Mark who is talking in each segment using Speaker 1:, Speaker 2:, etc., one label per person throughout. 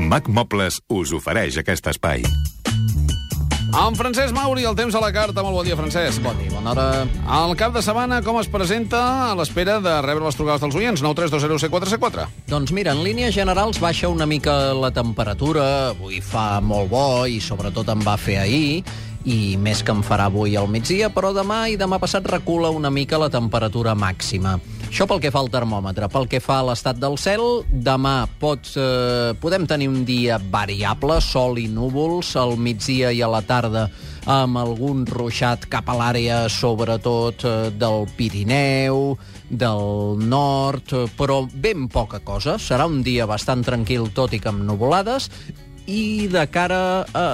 Speaker 1: Mac Mobles us ofereix aquest espai.
Speaker 2: En Francesc Mauri, el temps a la carta. Molt bon dia, Francesc.
Speaker 3: Bon dia, bona hora.
Speaker 2: El cap de setmana, com es presenta a l'espera de rebre les trucades dels oients? 93201C4C4.
Speaker 3: Doncs mira, en línies generals baixa una mica la temperatura, avui fa molt bo i sobretot en va fer ahir, i més que en farà avui al migdia, però demà i demà passat recula una mica la temperatura màxima. Això pel que fa al termòmetre. Pel que fa a l'estat del cel, demà pots, eh, podem tenir un dia variable, sol i núvols, al migdia i a la tarda amb algun ruixat cap a l'àrea, sobretot eh, del Pirineu, del nord, eh, però ben poca cosa. Serà un dia bastant tranquil, tot i que amb nuvolades, i de cara a...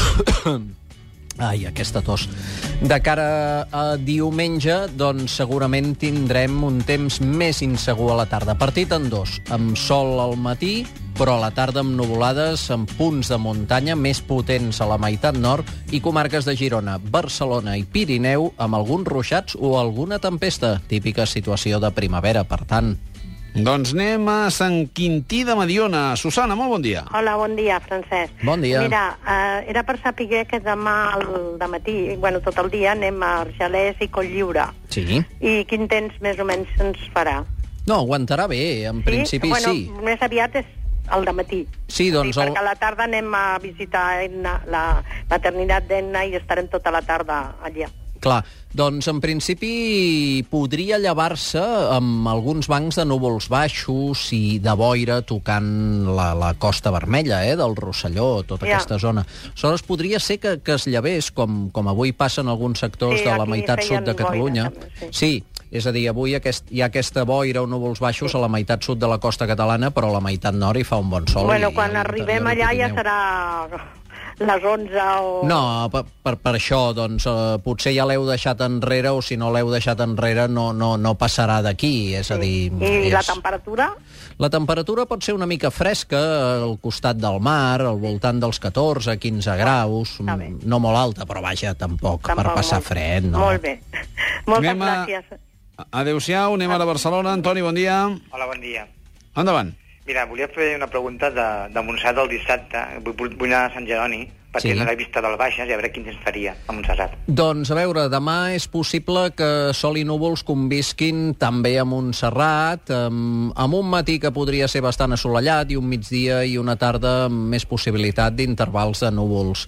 Speaker 3: Ai, aquesta tos. De cara a diumenge, doncs segurament tindrem un temps més insegur a la tarda. Partit en dos, amb sol al matí, però a la tarda amb nuvolades amb punts de muntanya més potents a la meitat nord i comarques de Girona, Barcelona i Pirineu amb alguns ruixats o alguna tempesta, típica situació de primavera, per tant.
Speaker 2: Doncs anem a Sant Quintí de Mediona. Susana, molt bon dia.
Speaker 4: Hola, bon dia, Francesc.
Speaker 3: Bon dia.
Speaker 4: Mira, eh, era per saber que demà al matí, bueno, tot el dia, anem a Argelès i Cotlliure.
Speaker 3: Sí.
Speaker 4: I quin temps més o menys ens farà?
Speaker 3: No, aguantarà bé, en principi
Speaker 4: bueno,
Speaker 3: sí.
Speaker 4: Més aviat és al matí.
Speaker 3: Sí, doncs
Speaker 4: Sí,
Speaker 3: el-
Speaker 4: perquè a la tarda anem a visitar Enna, la maternitat d'Enna i estarem tota la tarda allà.
Speaker 3: Clar, doncs en principi podria llevar-se amb alguns bancs de núvols baixos i de boira tocant la, la costa vermella eh, del Rosselló, tota
Speaker 4: Ja.
Speaker 3: ja. aquesta zona. Aleshores podria ser que, que es llevés, com, com avui passa en alguns sectors
Speaker 4: Sí,
Speaker 3: de la
Speaker 4: aquí
Speaker 3: meitat
Speaker 4: feien
Speaker 3: sud de Catalunya.
Speaker 4: boira, també,
Speaker 3: sí. és a dir, avui aquest, hi ha aquesta boira o núvols baixos a la meitat sud de la costa catalana, però a la meitat nord hi fa un bon sol.
Speaker 4: bueno,
Speaker 3: i
Speaker 4: quan
Speaker 3: a
Speaker 4: arribem
Speaker 3: l'interior i
Speaker 4: allà ja
Speaker 3: Pirineu.
Speaker 4: serà les 11 o...
Speaker 3: No, per, per, per això, doncs, eh, potser ja l'heu deixat enrere o si no l'heu deixat enrere no, no, no passarà d'aquí, és a dir...
Speaker 4: Mm. I
Speaker 3: és...
Speaker 4: la temperatura?
Speaker 3: la temperatura pot ser una mica fresca eh, al costat del mar, al voltant dels 14-15 graus,
Speaker 4: està bé.
Speaker 3: no molt alta, però vaja, tampoc,
Speaker 4: Tampoc
Speaker 3: per passar
Speaker 4: molt.
Speaker 3: fred, no.
Speaker 4: Molt bé. Moltes
Speaker 2: Anem a-
Speaker 4: gràcies.
Speaker 2: Adéu-siau, anem ara a Barcelona. Antoni, bon dia.
Speaker 5: Hola, bon dia.
Speaker 2: Endavant.
Speaker 5: Mira, volia fer una pregunta de, de Montserrat el dissabte. Vull, vull- vull anar a Sant Jeroni per
Speaker 3: Sí.
Speaker 5: sí. tenir la vista del Baixes i a veure quin temps faria a Montserrat.
Speaker 3: Doncs, a veure, demà és possible que sol i núvols convisquin també a Montserrat, amb, amb un matí que podria ser bastant assolellat i un migdia i una tarda amb més possibilitat d'intervals de núvols.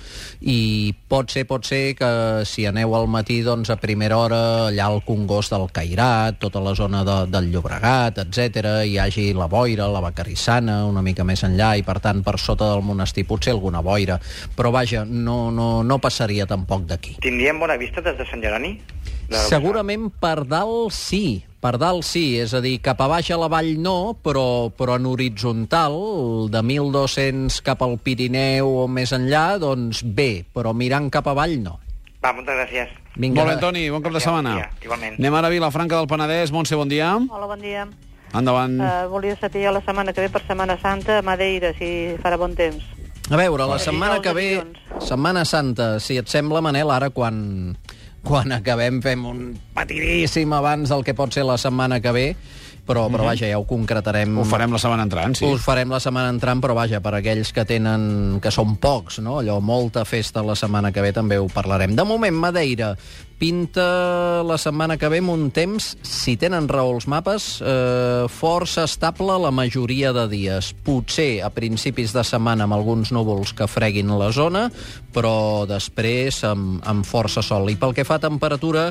Speaker 3: I pot ser, pot ser que si aneu al matí, doncs a primera hora, allà al Congost del Cairat, tota la zona de, del Llobregat, etc, hi hagi la boira, la Vacarissana, una mica més enllà, i per tant per sota del monestir potser alguna boira. Però vaja, no, no, no passaria tampoc d'aquí.
Speaker 5: Tindríem bona vista des de Sant Jeroni? De
Speaker 3: Segurament per dalt sí, per dalt sí, és a dir, cap a baix a la vall no, però, però en horitzontal, de 1.200 cap al Pirineu o més enllà, doncs bé, però mirant cap avall no.
Speaker 5: Va, moltes gràcies.
Speaker 3: Vinga,
Speaker 2: Molt bé, Antoni, bon cap de
Speaker 5: Adéu,
Speaker 2: setmana.
Speaker 5: bon dia, igualment.
Speaker 2: Anem ara a Vilafranca del Penedès. Montse, bon dia.
Speaker 6: Hola, bon dia.
Speaker 7: Mm.
Speaker 2: Endavant.
Speaker 6: Uh, volia saber jo la setmana que ve per Setmana Santa a Madeira, si farà bon temps.
Speaker 3: A veure, la setmana
Speaker 6: dijous
Speaker 3: que
Speaker 6: a
Speaker 3: ve,
Speaker 6: dilluns.
Speaker 3: Setmana Santa, si et sembla, Manel, ara quan, quan acabem fem un patidíssim abans del que pot ser la setmana que ve, però, però vaja, ja ho concretarem.
Speaker 2: Mhm. Ho farem la setmana entrant, sí.
Speaker 3: Sí. Us farem la setmana entrant, però vaja, per aquells que tenen que són pocs, no? Allò, molta festa la setmana que ve també ho parlarem. De moment, Madeira pinta la setmana que ve amb un temps, si tenen raó els mapes, eh, força estable la majoria de dies. Potser a principis de setmana amb alguns núvols que freguin la zona, però després amb, amb força sol. I pel que fa a temperatura,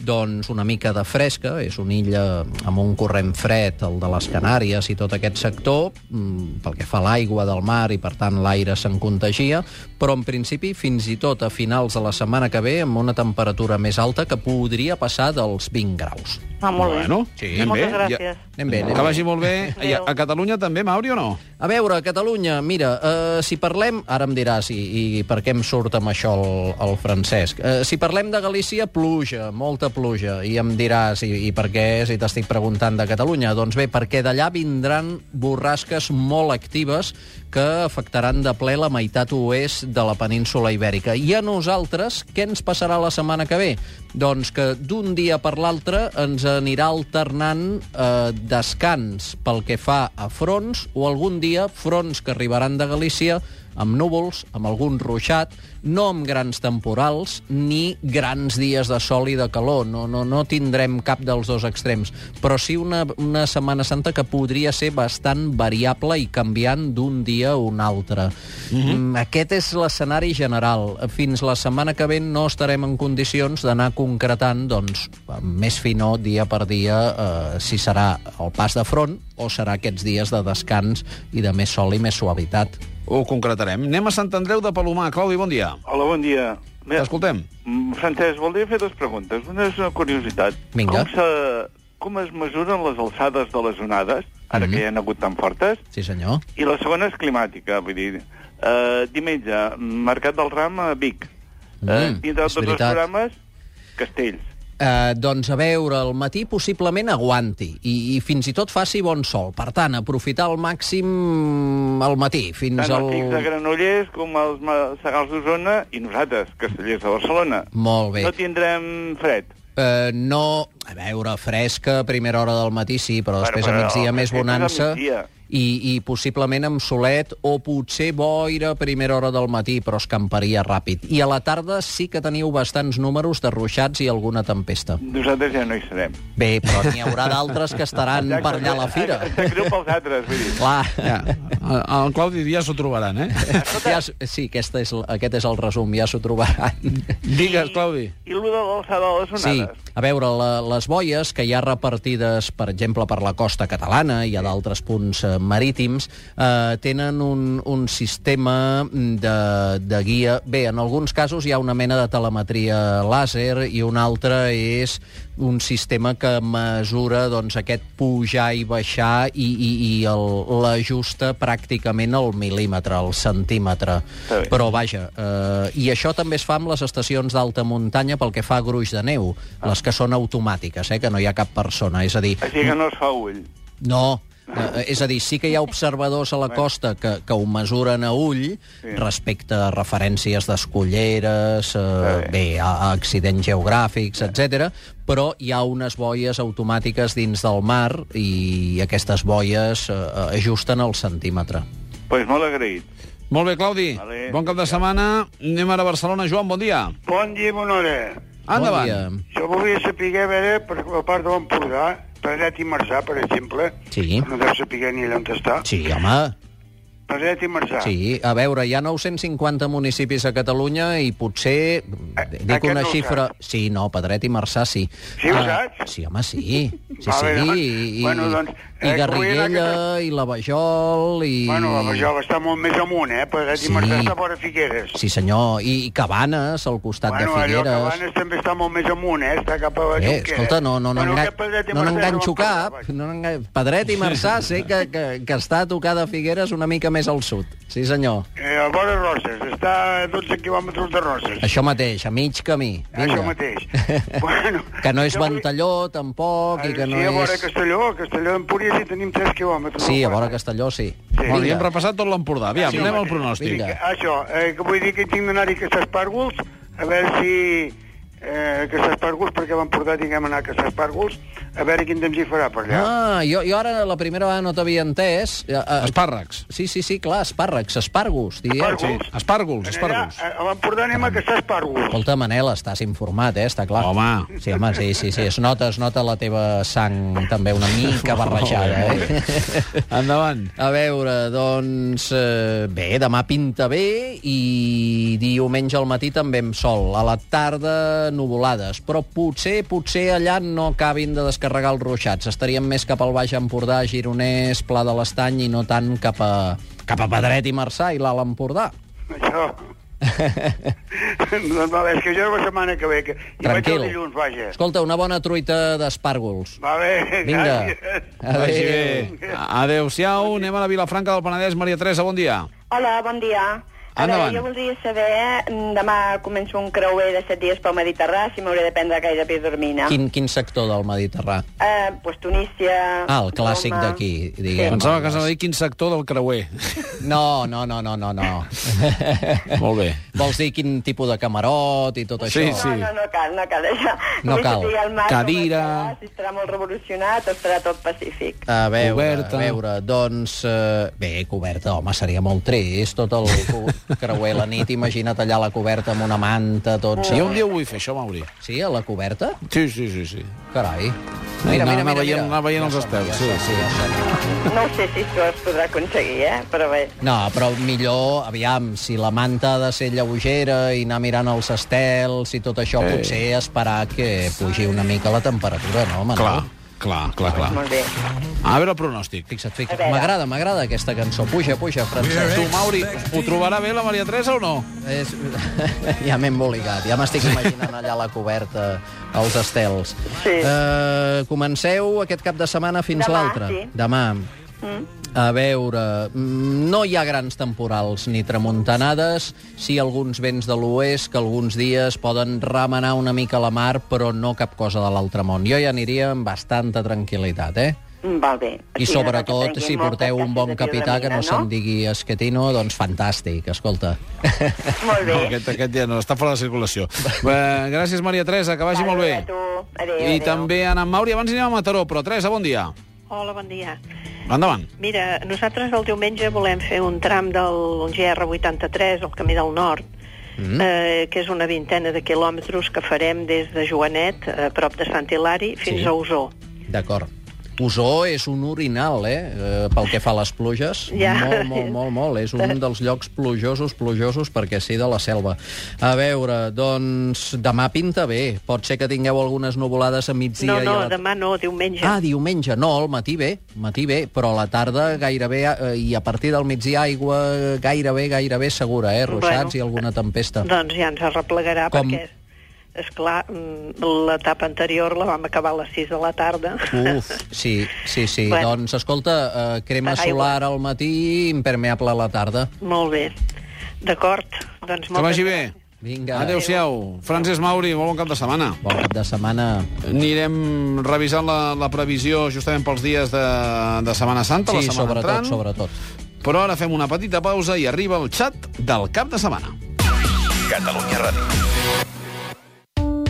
Speaker 3: doncs una mica de fresca, és una illa amb un corrent fred, el de les Canàries i tot aquest sector, mm, pel que fa a l'aigua del mar i per tant l'aire se'n contagia, però en principi fins i tot a finals de la setmana que ve amb una temperatura més alta que podria passar dels 20 graus.
Speaker 6: Ah, molt bé.
Speaker 2: Bueno,
Speaker 3: Sí.
Speaker 2: anem
Speaker 6: Moltes
Speaker 2: bé.
Speaker 6: gràcies.
Speaker 7: Eh,
Speaker 3: Anem bé, anem
Speaker 2: que
Speaker 3: bé.
Speaker 2: vagi molt bé. I a, a Catalunya també, Mauri, o no?
Speaker 3: A veure, a Catalunya, mira, eh, si parlem... Ara em diràs i, i per què em surt amb això el, el Francesc. Eh, si parlem de Galícia, pluja, molta pluja, i em diràs i, i per què és, i t'estic preguntant de Catalunya. Doncs bé, perquè d'allà vindran borrasques molt actives que afectaran de ple la meitat oest de la península ibèrica. I a nosaltres, què ens passarà la setmana que ve? Doncs que d'un dia per l'altre ens anirà alternant eh, descans pel que fa a fronts o algun dia fronts que arribaran de Galícia amb núvols, amb algun ruixat, no amb grans temporals ni grans dies de sol i de calor. No, no, no tindrem cap dels dos extrems, però sí una, una Setmana Santa que podria ser bastant variable i canviant d'un dia a un altre. Mm -hmm. Aquest és l'escenari general. Fins la setmana que ve no estarem en condicions d'anar concretant, doncs, amb més finor, dia per dia, eh, si serà el pas de front o serà aquests dies de descans i de més sol i més suavitat.
Speaker 2: Ho concretarem. Anem a Sant Andreu de Palomar. Claudi, bon dia.
Speaker 8: Hola, bon dia. Bé,
Speaker 2: T'escoltem.
Speaker 8: mm, Francesc, voldria fer dues preguntes. Una és una curiositat.
Speaker 3: Vinga.
Speaker 8: Com, se, com es mesuren les alçades de les onades, ara mm -hmm.
Speaker 3: Mhm.
Speaker 8: que hi han hagut tan fortes?
Speaker 3: Sí, senyor.
Speaker 8: I la segona és climàtica, vull dir... Eh, diumenge, Mercat del Ram a Vic.
Speaker 3: Mm,
Speaker 8: eh, dintre de
Speaker 3: és
Speaker 8: tots els
Speaker 3: veritat.
Speaker 8: programes, castells.
Speaker 3: Eh, doncs a veure, al matí possiblement aguanti i, i fins i tot faci bon sol. Per tant, aprofitar al màxim al matí, fins
Speaker 8: Tant
Speaker 3: al...
Speaker 8: els pics de Granollers com els ma- Segals d'Osona i nosaltres, castellers de Barcelona.
Speaker 3: Molt bé.
Speaker 8: No tindrem fred.
Speaker 3: Eh, no, a veure, fresca a primera hora del matí, sí, però
Speaker 8: Bueno,
Speaker 3: després
Speaker 8: però
Speaker 3: a migdia
Speaker 8: el matí és
Speaker 3: més
Speaker 8: a
Speaker 3: bonança
Speaker 8: migdia.
Speaker 3: i, i possiblement amb solet o potser boira a primera hora del matí, però escamparia ràpid. I a la tarda sí que teniu bastants números de ruixats i alguna tempesta.
Speaker 8: Nosaltres ja no hi serem.
Speaker 3: Bé, però n'hi haurà d'altres que estaran Mm, per allà a la fira.
Speaker 8: Em sap greu pels altres, vull dir.
Speaker 3: Clar.
Speaker 2: Ja, el Claudi ja s'ho trobaran, eh?
Speaker 3: Ja, s- sí, aquesta és, l- aquest és el resum, ja s'ho trobaran.
Speaker 2: Digues, Claudi.
Speaker 8: I el de l'alçada de les
Speaker 3: Sí,
Speaker 8: onades.
Speaker 3: a veure, la, les boies que hi ha repartides, per exemple, per la costa catalana i a d'altres punts eh, marítims, eh, tenen un, un sistema de, de guia... Bé, en alguns casos hi ha una mena de telemetria làser i un altre és un sistema que mesura doncs, aquest pujar i baixar i, i, i el- l'ajusta pràcticament al mil·límetre, al centímetre.
Speaker 8: Està bé.
Speaker 3: Però però vaja, eh, i això també es fa amb les estacions d'alta muntanya pel que fa a gruix de neu, les que són automàtiques, eh, que no hi ha cap persona, és a dir,
Speaker 8: Així que no es fa ull.
Speaker 3: no, eh, és a dir, sí que hi ha observadors a la costa que, que ho mesuren a ull respecte a referències d'escolleres, eh,
Speaker 8: Està bé.
Speaker 3: bé, a, a accidents geogràfics, etc. però hi ha unes boies automàtiques dins del mar i aquestes boies eh, ajusten al centímetre.
Speaker 8: Doncs pues molt agraït.
Speaker 2: Molt bé, Claudi.
Speaker 8: Vale.
Speaker 2: Bon cap de setmana. Anem ara a Barcelona. Joan, bon dia.
Speaker 9: Bon dia, i bona hora.
Speaker 2: Endavant.
Speaker 3: Bon dia.
Speaker 9: Jo volia saber, a veure, per la part de l'Empordà, Pedret i Marzà, per exemple,
Speaker 3: Sí.
Speaker 9: no deu saber ni allà on està.
Speaker 3: Sí, home,
Speaker 9: Pedret i Marzà.
Speaker 3: Sí, a veure, hi ha 950 municipis a Catalunya i potser...
Speaker 9: A-
Speaker 3: dic
Speaker 9: aquest
Speaker 3: una
Speaker 9: no ho
Speaker 3: xifra...
Speaker 9: saps.
Speaker 3: Sí, no, Pedret i Marçà, sí.
Speaker 9: Sí, ho
Speaker 3: Ah,
Speaker 9: saps?
Speaker 3: Sí, home, sí. Sí,
Speaker 9: Va
Speaker 3: sí,
Speaker 9: bé, doncs.
Speaker 3: i, i,
Speaker 9: Bueno, doncs,
Speaker 3: i
Speaker 9: eh,
Speaker 3: Garriguella,
Speaker 9: avui era aquesta-
Speaker 3: i la Bajol, i...
Speaker 9: Bueno, la Bajol està molt més amunt, eh? Pedret
Speaker 3: Sí.
Speaker 9: i Marzà està vora Figueres.
Speaker 3: Sí, senyor, i, i Cabanes, al costat
Speaker 9: Bueno,
Speaker 3: de
Speaker 9: allò
Speaker 3: Figueres.
Speaker 9: que Cabanes també està molt més amunt, eh? Està cap a
Speaker 3: Eh,
Speaker 9: la Junquera.
Speaker 3: escolta, no, no, no,
Speaker 9: Bueno,
Speaker 3: engan...
Speaker 9: aquest Pedret
Speaker 3: no
Speaker 9: i Marzà
Speaker 3: n'enganxo
Speaker 9: l'Empordà,
Speaker 3: cap.
Speaker 9: vaja.
Speaker 3: No n'engan... Pedret i Marçà sé que, que, que està a tocar de Figueres una mica més al sud. Sí, senyor.
Speaker 9: Eh, a vora Roses, està a 12 quilòmetres de Roses.
Speaker 3: Això mateix, a mig camí. Vinga.
Speaker 9: Això mateix. Bueno,
Speaker 3: que no és
Speaker 9: jo vull-
Speaker 3: Ventalló, tampoc, i que no
Speaker 9: Eh, sí, a vora
Speaker 3: és...
Speaker 9: Castelló, a Castelló d'Empúries hi tenim 3 quilòmetres.
Speaker 3: Sí, a vora Castelló, sí.
Speaker 2: Bueno, ja
Speaker 3: Vinga.
Speaker 2: hem repassat tot l'Empordà. Aviam,
Speaker 9: Sí,
Speaker 2: anem al
Speaker 9: home.
Speaker 2: pronòstic.
Speaker 3: Vinga.
Speaker 9: Això, eh, que vull dir que tinc d'anar-hi a aquestes pàrgols, a veure si... Eh, aquestes pàrgols, perquè vam portar, tinguem anar a aquestes pàrgols, a veure quin temps hi farà per allà.
Speaker 3: Ah, jo, jo ara la primera vegada no t'havia entès. Eh, eh,
Speaker 2: Espàrrecs.
Speaker 3: Sí, sí, sí, clar, espàrrecs, espàrgos, dieu.
Speaker 9: Espàrrecs.
Speaker 2: Sí, espàrgols, espàrgols.
Speaker 9: Allà, a- a l'Empordà anem a aquestes pàrgols.
Speaker 3: Escolta, Manel, estàs informat, eh? Està clar.
Speaker 2: Home.
Speaker 3: Sí, home, sí, sí, sí. Es nota, es nota la teva sang també una mica barrejada, eh?
Speaker 2: Endavant.
Speaker 3: A veure, doncs, eh, bé, demà pinta bé i diumenge al matí també amb sol. A la tarda, nuvolades. Però potser, potser allà no acabin de descarregar els ruixats. Estaríem més cap al Baix Empordà, Gironès, Pla de l'Estany i no tant cap a, cap a Pedret i Marçà i l'Alt Empordà.
Speaker 9: Això... doncs va bé, és que jo la setmana que ve... Que... hi vaig
Speaker 3: Tranquil.
Speaker 9: el dilluns, vaja.
Speaker 3: Escolta, una bona truita d'espàrgols.
Speaker 9: Va bé,
Speaker 3: Vinga.
Speaker 9: gràcies.
Speaker 2: Vagi
Speaker 3: Adéu.
Speaker 2: bé. Adéu-siau. Anem a la Vilafranca del Penedès. Maria Teresa, bon dia.
Speaker 7: Hola, bon dia. A
Speaker 2: Endavant.
Speaker 7: veure, jo voldria saber, mm, demà començo un creuer de 7 dies pel Mediterrà, si m'hauré de prendre gaire pidormina. Quin...
Speaker 3: Quin, quin sector del Mediterrà?
Speaker 7: Eh, pues Tunísia...
Speaker 3: Ah, el clàssic
Speaker 7: Roma.
Speaker 3: d'aquí, diguem.
Speaker 2: Pensava que s'ha de dir quin sector del creuer.
Speaker 3: No, no, no, no, no, no.
Speaker 2: Molt bé.
Speaker 3: Vols dir quin tipus de camarot i tot
Speaker 2: Sí,
Speaker 3: això?
Speaker 2: sí.
Speaker 7: No, no, no cal, no cal això.
Speaker 3: No
Speaker 7: Vull
Speaker 3: cal.
Speaker 7: dir, el mar
Speaker 2: Cadira.
Speaker 7: començarà, Si estarà molt revolucionat, estarà tot pacífic.
Speaker 3: A veure,
Speaker 2: Coberta.
Speaker 3: a veure, doncs... Eh, bé, coberta, home, seria molt trist, tot el co- creuer la nit, imagina't allà la coberta amb una manta, tot...
Speaker 2: Jo un dia ho vull fer, això, Mauri.
Speaker 3: Sí, a la coberta?
Speaker 2: Sí, sí, sí, sí.
Speaker 3: Carai.
Speaker 2: Anar- anar veient- anar veient els
Speaker 3: sona,
Speaker 2: estels,
Speaker 3: sona,
Speaker 2: sí,
Speaker 3: ja sona.
Speaker 7: No ho sé si tu es podrà aconseguir, eh? Però bé,
Speaker 3: No, però millor, aviam, si la manta ha de ser lleugera i anar mirant els estels i tot això, potser esperar que pugi una mica la temperatura, no, Manel?
Speaker 2: Clar, clar, clar, clar.
Speaker 7: molt bé.
Speaker 2: A veure el pronòstic.
Speaker 3: Fixa't, fixa't.
Speaker 7: A veure.
Speaker 3: M'agrada, m'agrada aquesta cançó. Puja, puja, Francesc.
Speaker 2: Tu, Mauri, ho trobarà bé la Maria Teresa o no?
Speaker 3: És... Ja m'he embolicat, ja m'estic imaginant allà a la coberta, els estels.
Speaker 7: Sí.
Speaker 3: Eh, comenceu aquest cap de setmana fins
Speaker 7: Demà,
Speaker 3: l'altre.
Speaker 7: sí.
Speaker 3: Demà. A veure, mm, no hi ha grans temporals ni tramuntanades, sí alguns vents de l'oest que alguns dies poden remenar una mica la mar, però no cap cosa de l'altre món. Jo hi aniria amb bastanta tranquil·litat, eh?
Speaker 7: Molt mm, bé.
Speaker 3: I
Speaker 7: Sí, no, no,
Speaker 3: sobretot,
Speaker 7: que
Speaker 3: si
Speaker 7: prenguin
Speaker 3: porteu
Speaker 7: moltes
Speaker 3: un
Speaker 7: caixes
Speaker 3: bon
Speaker 7: de
Speaker 3: capità que no,
Speaker 7: biodramina,
Speaker 3: se'n digui esquetino, doncs fantàstic, escolta.
Speaker 7: Molt
Speaker 2: No,
Speaker 7: bé.
Speaker 2: aquest, aquest ja no, està fora de circulació. Eh, gràcies, Maria Teresa, que vagi molt bé.
Speaker 7: A tu. Adéu,
Speaker 2: I
Speaker 7: adéu.
Speaker 2: també anar amb Mauri. Abans anem a Mataró, però Teresa, bon dia.
Speaker 6: Hola, bon dia.
Speaker 2: Endavant.
Speaker 6: Mira, nosaltres el diumenge volem fer un tram del GR83, el Camí del Nord, mm. eh, que és una vintena de quilòmetres que farem des de Joanet, a prop de Sant Hilari, fins
Speaker 3: Sí.
Speaker 6: sí. a Osor.
Speaker 3: D'acord. Usó és un orinal, eh? eh, Pel que fa a les pluges.
Speaker 6: Ja.
Speaker 3: Molt, molt, molt, molt. És un dels llocs plujosos, plujosos, perquè sí, de la selva. A veure, doncs, demà pinta bé. Pot ser que tingueu algunes nuvolades a migdia.
Speaker 6: no,
Speaker 3: i
Speaker 6: no,
Speaker 3: a la...
Speaker 6: demà no, diumenge.
Speaker 3: Ah, diumenge, no, al matí bé, matí bé, però a la tarda gairebé, eh, i a partir del migdia aigua gairebé, gairebé segura, eh? Ruixats
Speaker 6: Bueno.
Speaker 3: i alguna tempesta.
Speaker 6: Doncs ja ens arreplegarà,
Speaker 3: Com?
Speaker 6: Com? perquè, és clar, mm, l'etapa anterior la vam acabar a les 6 de la tarda.
Speaker 3: Uf, sí, sí, sí.
Speaker 6: Bueno.
Speaker 3: Doncs, escolta, eh, crema
Speaker 6: Aigua.
Speaker 3: solar al matí, impermeable a la tarda.
Speaker 6: Molt bé. D'acord. Doncs
Speaker 2: Que
Speaker 6: moltes
Speaker 2: vagi bé.
Speaker 6: gràcies.
Speaker 3: Vinga.
Speaker 2: Adéu-siau. Francesc Mauri, molt bon cap de setmana.
Speaker 3: Bon cap de setmana.
Speaker 2: Anirem revisant la, la previsió justament pels dies de, de Setmana Santa, Tota la
Speaker 3: Sí,
Speaker 2: setmana
Speaker 3: sobretot,
Speaker 2: entrant.
Speaker 3: sobretot.
Speaker 2: Però ara fem una petita pausa i arriba el xat del cap de setmana.
Speaker 10: Catalunya Ràdio.